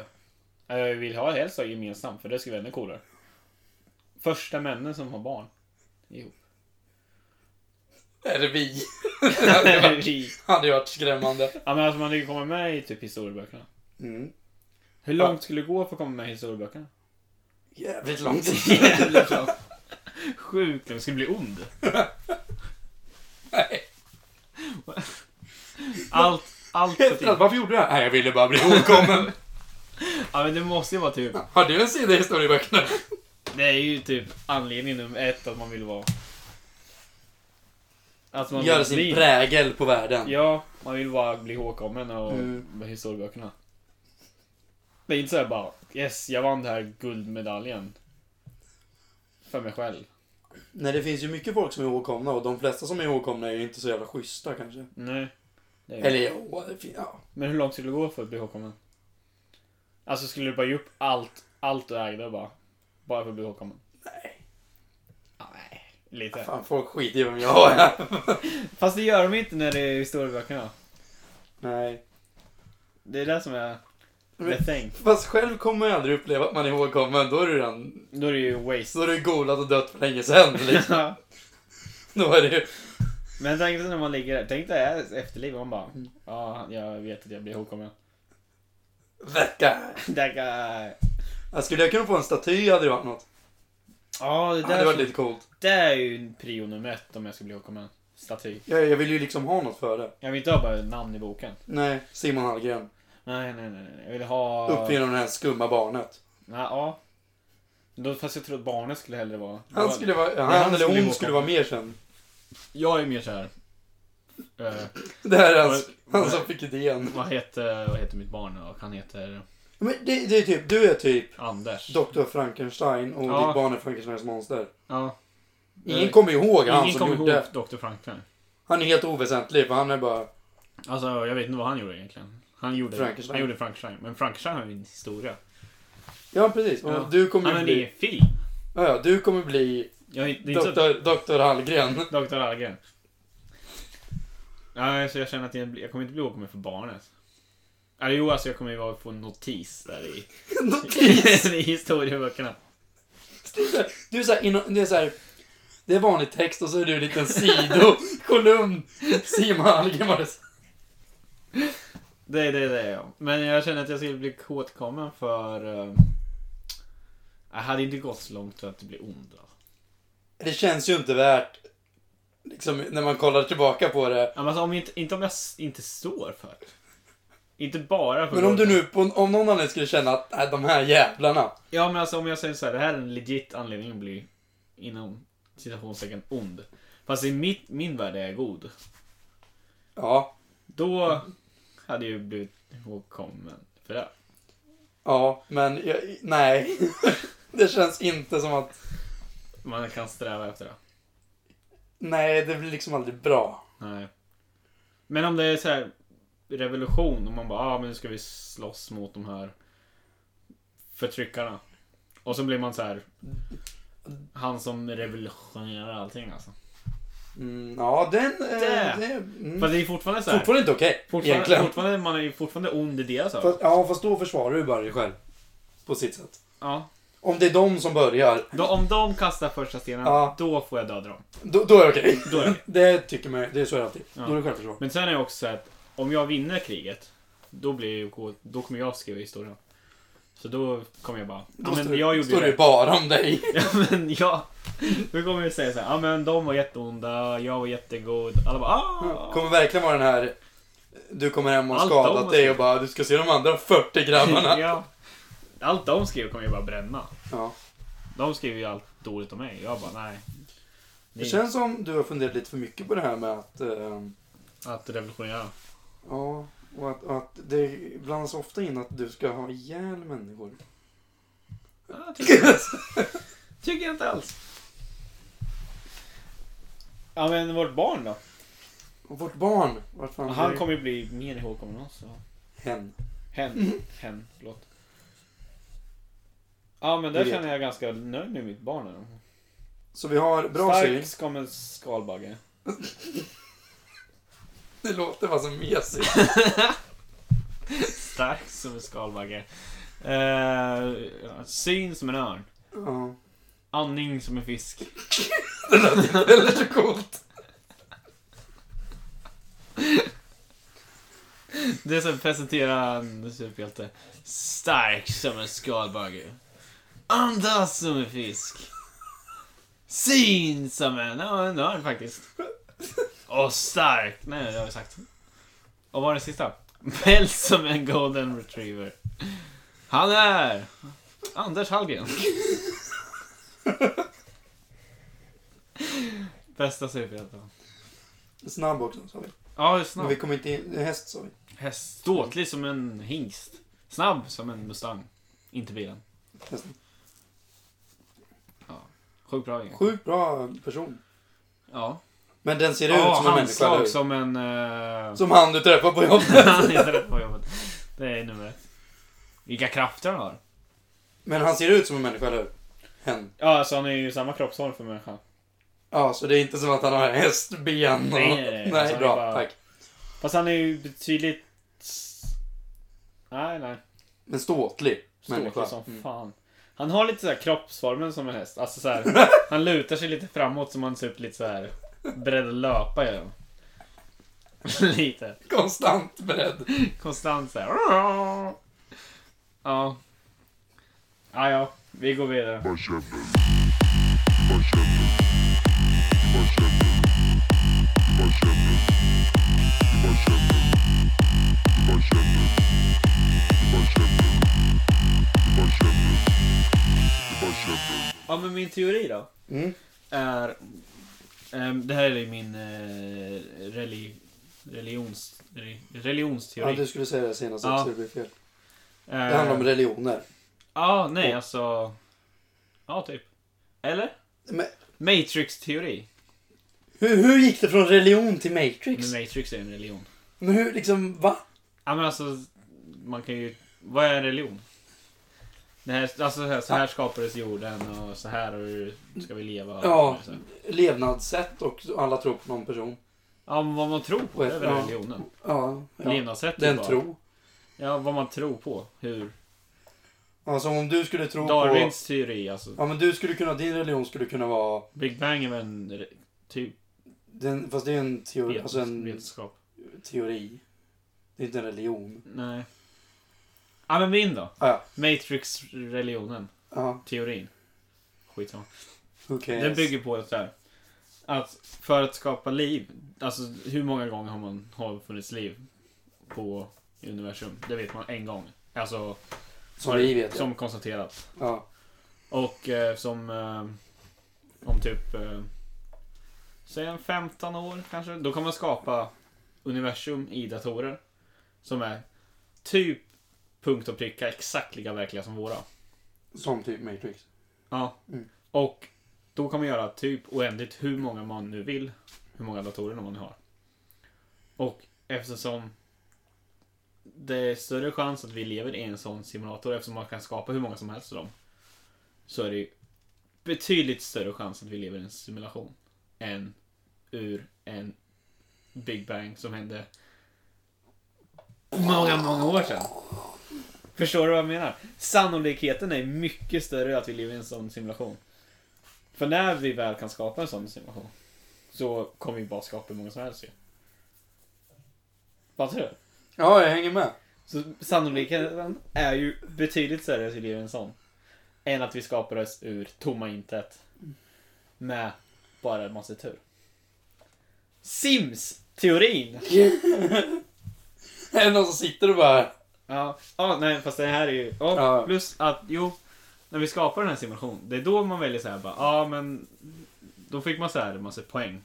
Eh, Jag vill ha helst ha gemensamt, för det skulle vara ännu coolare. Första männen som har barn. Jo.
Är det vi? det hade varit- hade ju varit skrämmande.
Ja men alltså man hade ju kommit med i typ historieböckerna.
Mm.
Hur långt skulle det gå för att komma med i historieböckerna?
Jävligt långt.
Sjukt, den skulle bli ond.
Nej.
Allt, allt för
Helt
tid.
rätt. Varför gjorde du det här? Nej, jag ville bara bli ihågkommen.
Ja, men det måste ju vara typ.
Har du en sida i historieböckerna?
Det är ju typ anledning nummer ett att man vill vara... Att man
Gör
vill
sin
bli...
prägel på världen.
Ja, man vill bara bli ihågkommen och
Mm.
med historieböckerna. Det är inte såhär bara yes, jag vann den här guldmedaljen. För mig själv.
Nej, det finns ju mycket folk som är ihågkomna och de flesta som är ihågkomna är ju inte så jävla schyssta kanske.
Nej. Det är...
Eller jo, det fin- ja.
Men hur långt skulle det gå för att bli ihågkommen? Alltså skulle du bara ge upp allt, allt du ägde och bara... Bara för att bli ihågkommen?
Nej.
Nej. Lite.
Fan, folk skiter i vem jag är.
Fast det gör de inte när det är historieböckerna.
Nej.
Det är det som är...
The thing.
Fast själv kommer jag aldrig uppleva att man är ihågkommen. Då är det redan...
Då är det ju waste.
Då är det golat och dött för länge sedan. Liksom. Då är det ju...
Men tänk dig när man ligger där. Tänk dig efterliv. Man bara. Ja, jag vet att jag blir ihågkommen.
Vecka!
That guy.
Jag skulle jag kunna få en staty hade det varit något.
Ja, det
Det
där
hade varit lite coolt.
Det är ju prio nummer ett om jag ska bli ihågkommen. Staty.
Jag, jag vill ju liksom ha något för det.
Jag vill inte ha bara namn i boken.
Nej, Simon Hallgren.
Nej, nej, nej. nej. Jag vill ha...
Uppfinnaren av det här skumma barnet.
Nej, ja. Då, fast jag tror att barnet skulle hellre vara...
Han skulle vara... Han,
han
eller
skulle
hon
gå
skulle
på.
vara mer känd.
Jag är mer såhär... eh,
Det här är han,
Men-
han som fick idén.
vad, heter, vad heter mitt barn och Han heter
Men det, det är typ... Du är typ
Anders.
Dr. Frankenstein och
Ja.
ditt barn är Frankensteins monster.
ja.
Ingen
Nej.
kommer ihåg han
Ingen
som
kommer
gjorde
ihåg
det.
Dr. Franklin.
Han är helt oväsentlig för han är bara...
Alltså, jag vet inte vad han gjorde egentligen. Han gjorde
Frankenstein.
Frankenstein. Han gjorde Frankenstein. Men Frankenstein har ju en historia.
Ja, precis. Och
Ja.
Du
Han
kommer
är
ju
med i
bli...
en film.
Ja, ja, du kommer bli
Jag, är- det är inte så...
Dr. Dr. Hallgren.
Dr. Algren. Nej, så alltså, jag känner att jag, blir- jag kommer inte bli ihågkommen för barnet. Eller jo, alltså jag kommer ju vara- få en notis där i, i historieböckerna.
Du är såhär, inom- det är såhär... Det är vanlig text och så är du en liten sidokolumn. Simon Hallgren var det.
Det är det, det är jag. Men jag känner att jag skulle bli ihågkommen för... eh, jag hade inte gått så långt för att det blir ond. Alltså.
Det känns ju inte värt... Liksom, när man kollar tillbaka på det.
Ja, men Alltså, om jag inte, inte om jag s- inte står för det. Inte bara för
Men om du
golden.
nu, på, om någon anledning skulle känna att nej, de här jävlarna.
Ja men alltså om jag säger så här, det här är en legit anledning att bli inom citationstecken ond. Fast i mitt, min värld är jag god.
Ja,
Då hade jag ju blivit ihågkommen för det.
ja, men jag, nej. Det känns inte som att...
Man kan sträva efter det.
Nej, det blir liksom aldrig bra.
Nej. Men om det är så här revolution och man bara ah men nu ska vi slåss mot de här förtryckarna. Och så blir man så här han som revolutionerar allting alltså.
Mm, ja, den... eh,
Det.
det mm.
Fast det är fortfarande så här.
Fortfarande inte okej,
Fortfarande,
egentligen.
fortfarande, man är ju fortfarande ond i deras ögon.
Fast, ja, fast då försvarar du bara dig själv. På sitt sätt.
Ja.
Om det är de som börjar,
Då, om de kastar första stenen,
Ja.
då får jag döda dem.
då, då är det okej.
Då är det okej.
Det tycker man det är så är det alltid.
Ja.
Då är det självförsvar.
Men sen är det också så att om jag vinner kriget, då, blir jag, ju- då kommer jag skriva historien. Så då kommer jag bara,
Då
ja men
står,
jag gjorde
står
ju
det ju
det.
bara om dig.
Ja men jag, då kommer jag säga så här, ja men de var jätteonda, jag var jättegod. Alla bara, ah!
Kommer verkligen vara den här... Du kommer hem och har
Allt om
skadat
och
dig
så.
och bara du ska se de andra 40 grabbarna.
ja. Allt de skrev kommer jag bara bränna.
Ja.
De skriver ju allt dåligt om mig. Jag bara, nej.
Det
Ni-
känns som du har funderat lite för mycket på det här med att... eh,
Att revolutionera.
ja, och att, och att det blandas ofta in att du ska ha ihjäl människor.
Ja, tycker, jag, tycker jag inte alls.
Ja, men vårt barn då?
Och vårt barn, vart fan
Han
det-
kommer ju bli mer ihågkommen än oss. så.
Hen.
Hen. Hen, förlåt. Ja, men
Vi
där
vet.
känner jag ganska nöjd med mitt barn. Här.
Så vi har bra
Stark
syn.
som en skalbagge.
Det låter bara så mesigt.
Stark som en skalbagge. Eh, syn som en örn.
Ja.
Andning som en fisk.
Det lät inte heller så coolt.
Det är som att presentera en superhjälte. Stark som en skalbagge. Andas som en fisk. Syn som en, ja, en örn faktiskt. Och stark. Nej, det har jag sagt. Och vad var det sista? Päls som en golden retriever. Han är Anders Hallgren. Bästa superhjälten.
Snabb också sa vi.
Ja, det är
Men
snabbt.
vi kommer inte in. Häst sa vi.
Häst. Ståtlig som en hingst. Snabb som en Mustang. Inte bilen.
Hästen.
Sjukt bra igen.
Sjukt bra person.
Ja.
Men den ser ut
Ja,
som en människa.
handslag
eller hur?
som en... eh,
Som han du träffar på jobbet.
Han heter det på jobbet. Det är nummer ett. Vilka krafter han har.
Men han ser ut som en människa, eller hur? Hen.
Ja, alltså han är ju samma kroppshåll för människan.
Ja, så det är inte som att han har hästben. och-
Nej, nej, nej.
nej
Så han
bra.
är bara-
Tack.
Fast han är ju betydligt... Nej, nej.
Men ståtlig människa. Mm.
Ståtlig som fan. Han har lite så här kroppsformen som en häst. Alltså så här, han lutar sig lite framåt som han ser ut lite så här beredd att löpa gör han. lite.
Konstant beredd.
Konstant så här. Ja. Ja, ja. Vi går vidare. Ja, men min teori då?
Mm.
är... ehm, det här är min eh, reli, religions, re, religionsteori.
Ja, du skulle säga det senast
Ja.
också. Det blir fel.
Eh,
Det handlar om religioner.
Ja, nej alltså... Ja, typ. Eller?
Men
Matrix-teori.
hur, hur gick det från religion till Matrix?
Men Matrix är ju en religion.
Men hur, liksom, va?
Ja, men alltså... Man kan ju... Vad är en religion? Det här, alltså, så här- så här skapades jorden och så här ska vi leva.
Ja.
Och så.
Levnadssätt och alla tror på någon person.
ja, men vad man tror på, det är väl
Ja.
religionen.
Ja. ja.
Levnadssättet
Det är en
bara.
tro.
Ja, vad man tror på. Hur?
Alltså om du skulle tro på...
Darwins teori, alltså.
Ja men du skulle kunna, din religion skulle kunna vara...
Big Bang är väl en re- typ
Den, fast det är en teori,
vet-
alltså en
vetenskap?
teori. Det är inte en religion.
Nej. Ja, men min då?
Ah, ja.
Matrix-religionen.
Ja,
Teorin. Skitsamma.
who cares?
Den bygger på så här. Att för att skapa liv, alltså hur många gånger har man har funnits liv på universum? Det vet man en gång. Alltså,
Som vi vet
som konstaterat.
ja.
Och eh, som eh, om typ eh, säg en 15 år kanske, då kan man skapa universum i datorer som är typ punkt och pricka exakt lika verkliga som våra.
ja, som typ Matrix.
Ja.
Mm.
Och då kan man göra typ oändligt hur många man nu vill, hur många datorer man nu har. Och eftersom det är större chans att vi lever i en sån simulator eftersom man kan skapa hur många som helst av dem. Så är det ju betydligt större chans att vi lever i en simulation. Än ur en Big Bang som hände många, många år sedan. Förstår du vad jag menar? Sannolikheten är mycket större att vi lever i en sån simulation. För när vi väl kan skapa en sån simulation så kommer vi bara skapa hur många som helst ju. Vad tror du?
Ja, jag hänger med.
Så sannolikheten är ju betydligt större att vi lever i en sån. Än att vi skapades ur tomma intet. Med bara en massa tur. Sims-teorin!
Är det någon som sitter och bara...
Ja, ja nej fast det här är ju... Och
Ja.
Plus att, jo. När vi skapar den här simulationen, det är då man väljer så här bara, ja men... Då fick man så här en massa poäng.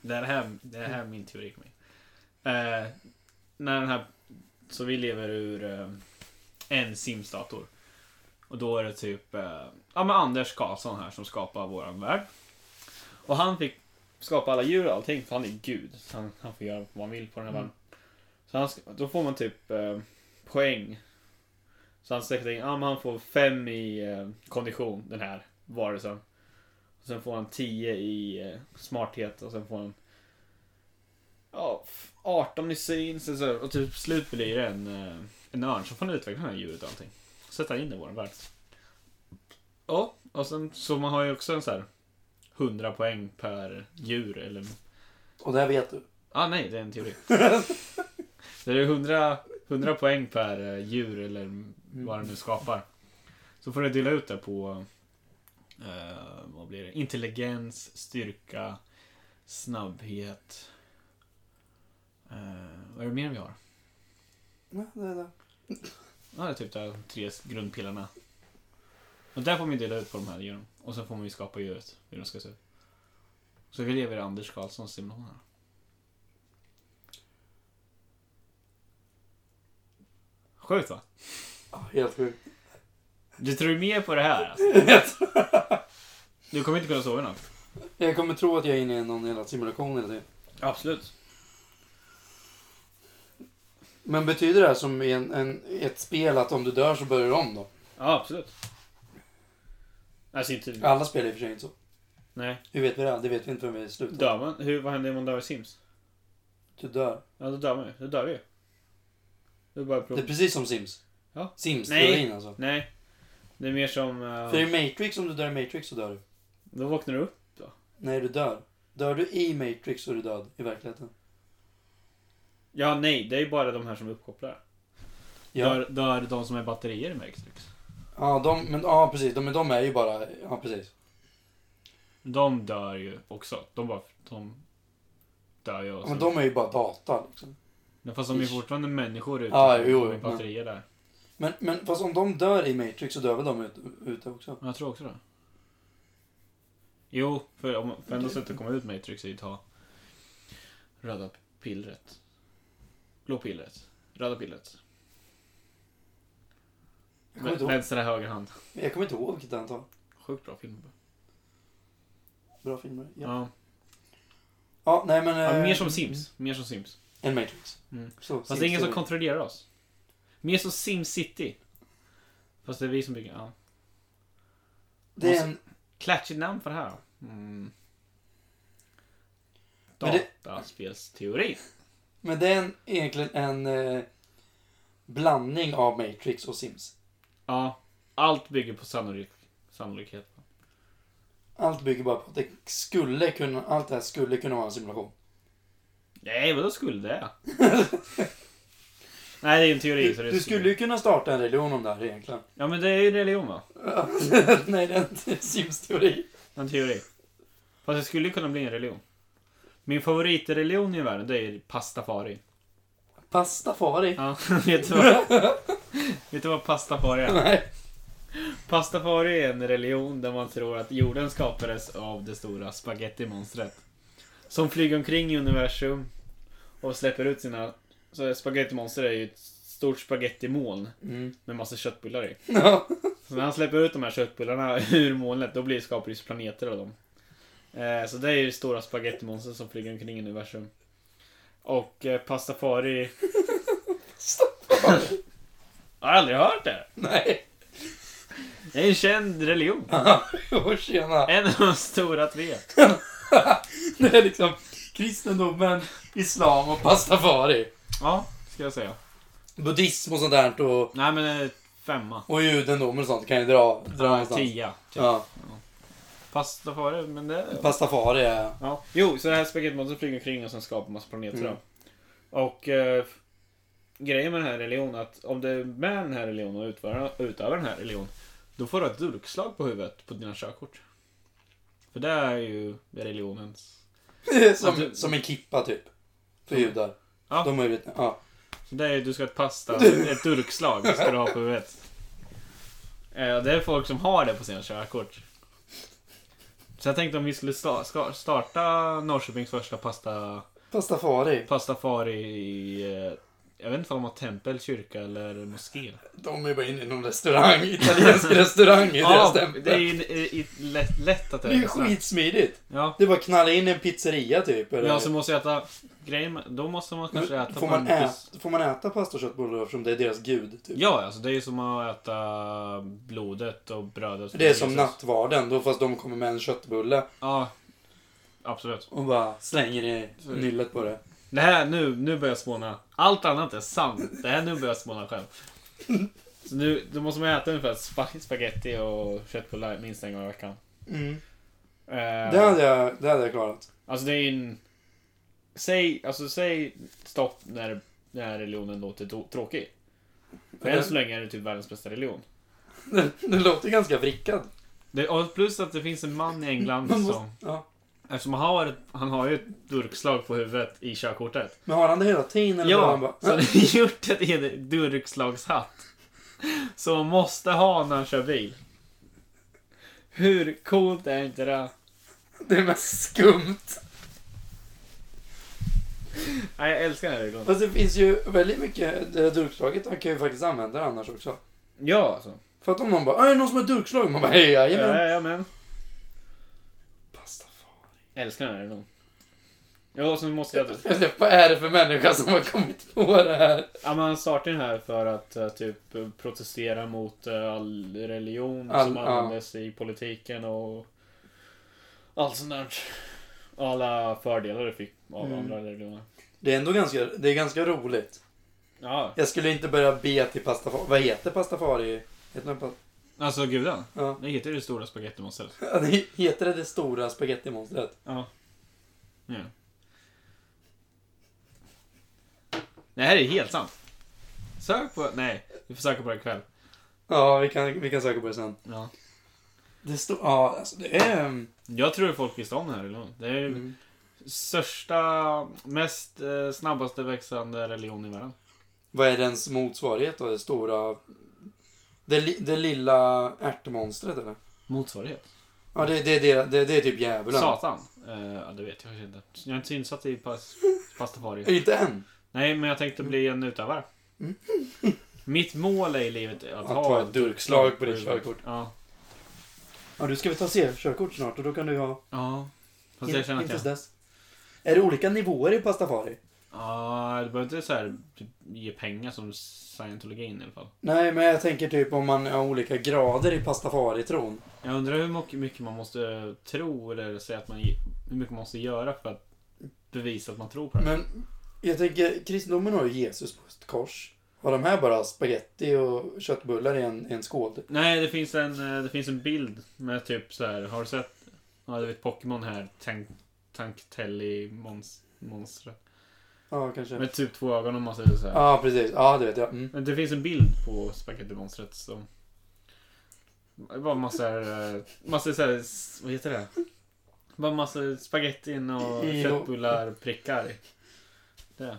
Det är det här, det är det här min teori kom in. Eh, när den här... Så vi lever ur eh, en Sims-dator. Och då är det typ, eh, ja men Anders Karlsson här som skapar våran värld. Och han fick skapa alla djur och allting, för han är gud. Så han, han får göra vad han vill på den här världen. Så han, ska- då får man typ... Eh, poäng. Så han sträckte in, ja men han får 5 i eh, kondition, den här varelsen. Och sen får han 10 i eh, smarthet och sen får han ja, f- 18 i syn. Sen så, och typ slut blir det en, eh, en örn som får utveckla det här djuret och allting. Sätta in det i vår värld. Ja, och sen så man har ju också en så här 100 poäng per djur eller
Och det här vet du.
Ah, nej, det är en teori. det är 100, 100 poäng per eh, djur eller vad det nu skapar. Så får du dela ut det på eh, vad blir det? intelligens, styrka, snabbhet. Eh, vad är det mer vi har?
Ja, det är det.
Ja, det är typ de tre grundpillarna. Och där får man ju dela ut på de här djuren. Och sen får man ju skapa djuret, hur de ska se ut. Så vi lever i Anders Karlssons simulation här. Sjukt va?
Ja, helt sjukt.
Du tror mer på det här alltså. Du kommer inte kunna sova i natt.
jag kommer tro att jag är inne i någon jävla simulation eller typ. det.
Absolut.
Men betyder det här som i en, en, i ett spel att om du dör så börjar du om då?
Ja, absolut. Alltså inte...
Alla spel är i och för sig inte så.
Nej.
Hur vet vi det? Det vet vi inte förrän vi är slut.
Dör man? Hur, vad händer om man dör i Sims?
Du dör.
Ja, då dör man ju. Då dör vi ju. Det är bara
Det är precis som Sims.
Ja.
Sims-teorin alltså.
Nej. Det är mer som... eh,
För i Matrix, om du dör i Matrix så dör du.
då vaknar du upp.
Nej, du dör. Dör du i Matrix så är du död i verkligheten.
Ja, nej. Det är ju bara de här som uppkopplar.
Ja,
Dör, dör de som är batterier i Matrix?
ja, de, men, ja precis. De, men de är ju bara... Ja, precis.
De dör ju också. De bara... De dör ju
Ja,
också.
Men de är ju bara data liksom.
Men fast de är ju
Ish.
fortfarande människor ute.
Ja, jo,
de är
jo,
batterier där.
Men, men fast om de dör i Matrix så dör väl de ut- ute också?
Ja, Jag tror också det. Jo, för om för enda sättet att komma ut Matrix är ju att ta röda pillret. Blå pillret. Röda pillret.
Jag kommer, inte ihåg,
Vänstra höger hand.
jag kommer inte ihåg vilket den tar.
Sjukt bra film.
Bra filmer. Ja, ja.
Ja.
nej men...
Ja,
eh,
mer som Sims. Mer som Sims.
En Matrix.
Mm.
Så,
Fast det är ingen som kontrollerar oss. Mer som SimCity. Fast det är vi som bygger. Ja.
Det är en...
Klatschigt namn för det här. Mm.
Men det-
Dataspelsteori.
Men det är en, egentligen en eh, blandning av Matrix och Sims.
Ja. Allt bygger på sannolik sannolikhet.
Allt bygger bara på att det skulle kunna, allt det här skulle kunna vara en simulation.
Nej, vadå skulle det? Nej, det är en teori. Så det är
Du skulle ju kunna starta en religion om det här egentligen.
Ja, men det är ju religion va?
Nej, det är inte Sims-teori.
En teori. Fast det skulle ju kunna bli en religion. Min favoritreligion i världen, det är pastafari.
Pastafari.
Ja, vet du vad? vet du vad pastafari är?
Nej.
Pastafari är en religion där man tror att jorden skapades av det stora spagettimonstret. Som flyger omkring i universum och släpper ut sina... Så spagettimonster är ju ett stort spagettimoln
Mm.
med massa köttbullar i.
Ja.
Så när han släpper ut de här köttbullarna ur molnet, då blir skapades planeter av dem. Eh, så det är ju det stora spagettimonstret som flyger omkring i universum. Och eh, pastafari... Har aldrig hört det!
Nej.
Det är en känd religion.
Åh, tjena.
En av de stora tre.
Det är liksom kristendomen, islam och pastafari.
Ja, ska jag säga.
Buddhism och sånt där och,
Nej men eh, femma.
och judendom och sånt kan ju dra, dra någonstans.
Tia.
Ja.
Pastafari, men det...
Pastafari är...
Ja. Jo, så det här spagettimonstret flyger omkring och sen skapar massa planeter
Mm.
då. Och eh, f- grejen med den här religionen är att om du är med i den här religionen och utövar, utövar den här religionen, då får du ett durkslag på huvudet på dina körkort. För det är ju religionens...
Som, som en kippa typ. För judar.
Ja.
De har ju lite- ja.
Så det är ju, du ska ha ett pasta, ett durkslag ska du ha på huvudet. Eh, och det är folk som har det på sina körkort. Så jag tänkte om vi skulle sta, ska, starta Norrköpings första pasta...
Pastafari.
Pastafari i... eh, Jag vet inte om de har tempel, kyrka eller moské.
De är bara inne i någon restaurang. Italiensk restaurang i deras tempel.
det är ju i- i- lätt, lätt att
Det är ju
restaurang.
skitsmidigt.
Ja.
Det är bara att knalla in i en pizzeria typ. Eller?
ja, så måste jag äta... Grejen med- Då måste man kanske
Men
äta...
får, man
pampus.
äta, får man äta pasta och köttbullar eftersom det är deras gud? Typ.
Ja, alltså det är ju som att äta blodet och brödet.
Det är som nattvarden då fast de kommer med en köttbulle
Ja. Absolut.
och bara slänger i nyllet på det.
Det här, nu, nu börjar jag spåna. Allt annat är sant. Det här nu börjar jag spåna själv. Så nu, då måste man äta ungefär spa- spaghetti och köttbullar minst en gång i veckan.
Mm.
Eh,
Det, hade jag, det hade jag klarat.
Alltså det är ju en... Säg, alltså, säg stopp när, när religionen låter tå- tråkig. För än så länge är det typ världens bästa religion.
Den, den låter ganska vrickad.
Det, och plus att det finns en man i England
Man måste-
som...
Ja.
Eftersom han har, ett- han har ju ett durkslag på huvudet i körkortet.
Men har han det hela tiden? Eller har han
Ja,
bara,
så han har gjort ett eget durkslagshatt. Som man måste ha när han kör bil. Hur coolt är inte det?
det är mest skumt.
Nej, jag älskar den här religionen.
Fast det finns ju väldigt mycket, det där durkslaget man kan ju faktiskt använda det annars också.
Ja, alltså.
För att om någon bara "Ah, är det någon som har durkslag? Man bara hej jajamän.
Jajamän.
Pastafari.
Älskar den här religionen. Ja, och sen måste jag...
Eller vad är det för människa som har kommit på det här?
Ja, man startade den här för att eh, typ protestera mot eh, all religion
All-
som
ja.
användes i politiken och allt sånt där. Alla fördelar du fick av
Mm.
andra religioner.
Det är ändå ganska, det är ganska roligt.
Ja.
Jag skulle inte börja be till pastafari. Vad heter pastafari? Heter den pa-
Alltså gudan.
ja.
Det heter det stora spagettimonstret.
Ja, det heter det det stora spagettimonstret?
Ja. ja. Det här är helt sant. Sök på... Nej, vi får söka på det ikväll.
Ja, vi kan, vi kan söka på det sen.
Ja.
Det står... Ja, alltså det är... mm,
Jag tror folk visste om det här eller Det är
Mm.
största, mest eh, snabbaste växande religion i världen.
Vad är dens motsvarighet då? Det stora... Det, li, det lilla ärtmonstret eller?
Motsvarighet.
Ja, det, det, det, det, det är typ djävulen.
Satan. Eh, ja, det vet jag faktiskt inte. Jag är inte så insatt i pas, pastafari.
Inte än.
Nej, men jag tänkte bli en utövare. Mitt mål är i livet är att,
Att
ha
ta ett durkslag på ditt körkort.
Ja.
Ja, du ska vi ta se körkort snart och då kan du ha...
ja. Fast jag känner att jag...
tills dess. Är det olika nivåer i pastafari?
Ja, du behöver inte så här, typ, ge pengar som scientologin i alla fall.
Nej, men jag tänker typ om man har olika grader i pastafaritron.
Jag undrar hur mo- mycket man måste eh, tro eller säga att man... ge- Hur mycket man måste göra för att bevisa att man tror på det.
Men jag tänker, kristendomen har ju Jesus på ett kors. Har de här bara spaghetti och köttbullar i en, i en skål?
Nej, det finns en, eh, det finns en bild med typ så här. Har du sett? Ja, du vet Pokémon här. Tank, Tanktelli mons, monster.
Ja, kanske.
Med typ två ögon om man säger så här.
Ja, precis. Ja, det vet jag. Mm.
Men det finns en bild på spagettimonstret som... Det var massor... eh, Massor så här, s- Vad heter det? Bara massor spagettin och
I- i-
köttbullar prickar. Det.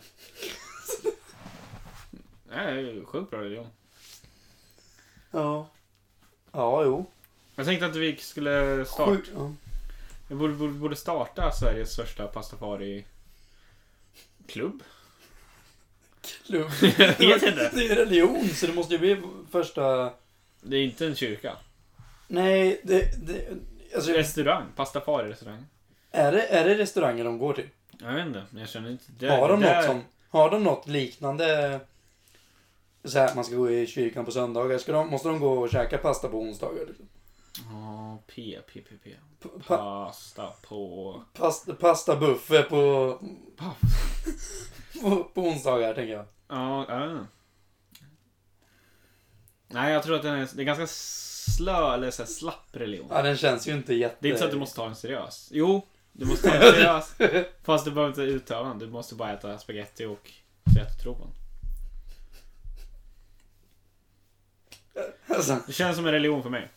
Nej, det är sjukt bra religion.
Ja. Ja, jo.
Jag tänkte att vi skulle starta...
Sjukt. Ja.
Vi borde, borde, borde starta Sveriges största pastafari... Klubb?
Klubb.
Jag vet inte.
Det är religion, så det måste ju bli första...
Det är inte en kyrka.
Nej, det... det... Alltså,
Restaurang. Pastafari-restaurang.
är det, är det restauranger de går till?
Jag vet inte, men jag känner inte... Det,
Har de,
det
något som, har de något liknande? Så här, man ska gå i kyrkan på söndagar. Ska de, måste de gå och käka pasta på onsdagar? Liksom?
Ja, P, P, P, P.
P- Pa,
Pasta på...
pasta, pasta buffé på, på, på onsdagar, tänker jag.
Ja, jag vet inte. Nej, jag tror att den är, det är ganska slö eller så här, slapp religion.
Ja, den känns ju inte jätte...
Det är inte så att du måste ta den seriös. Jo, du måste ta den seriös. Fast du behöver inte utöva den. Du måste bara äta spaghetti och säga att du tror på den.
Alltså,
Det känns som en religion för mig.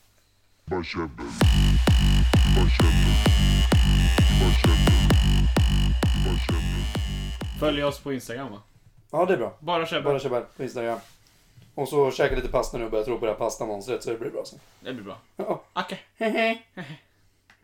Başarılı. Başarılı. Başarılı. Başarılı.
Följ oss på Instagram va?
ja, det är bra.
Bara köp.
Bara köpa på Instagram. Och så käka lite pasta nu och börja tro på det här pastamonstret så det blir bra sen.
Det blir bra.
Ja.
Okej.
Hehe.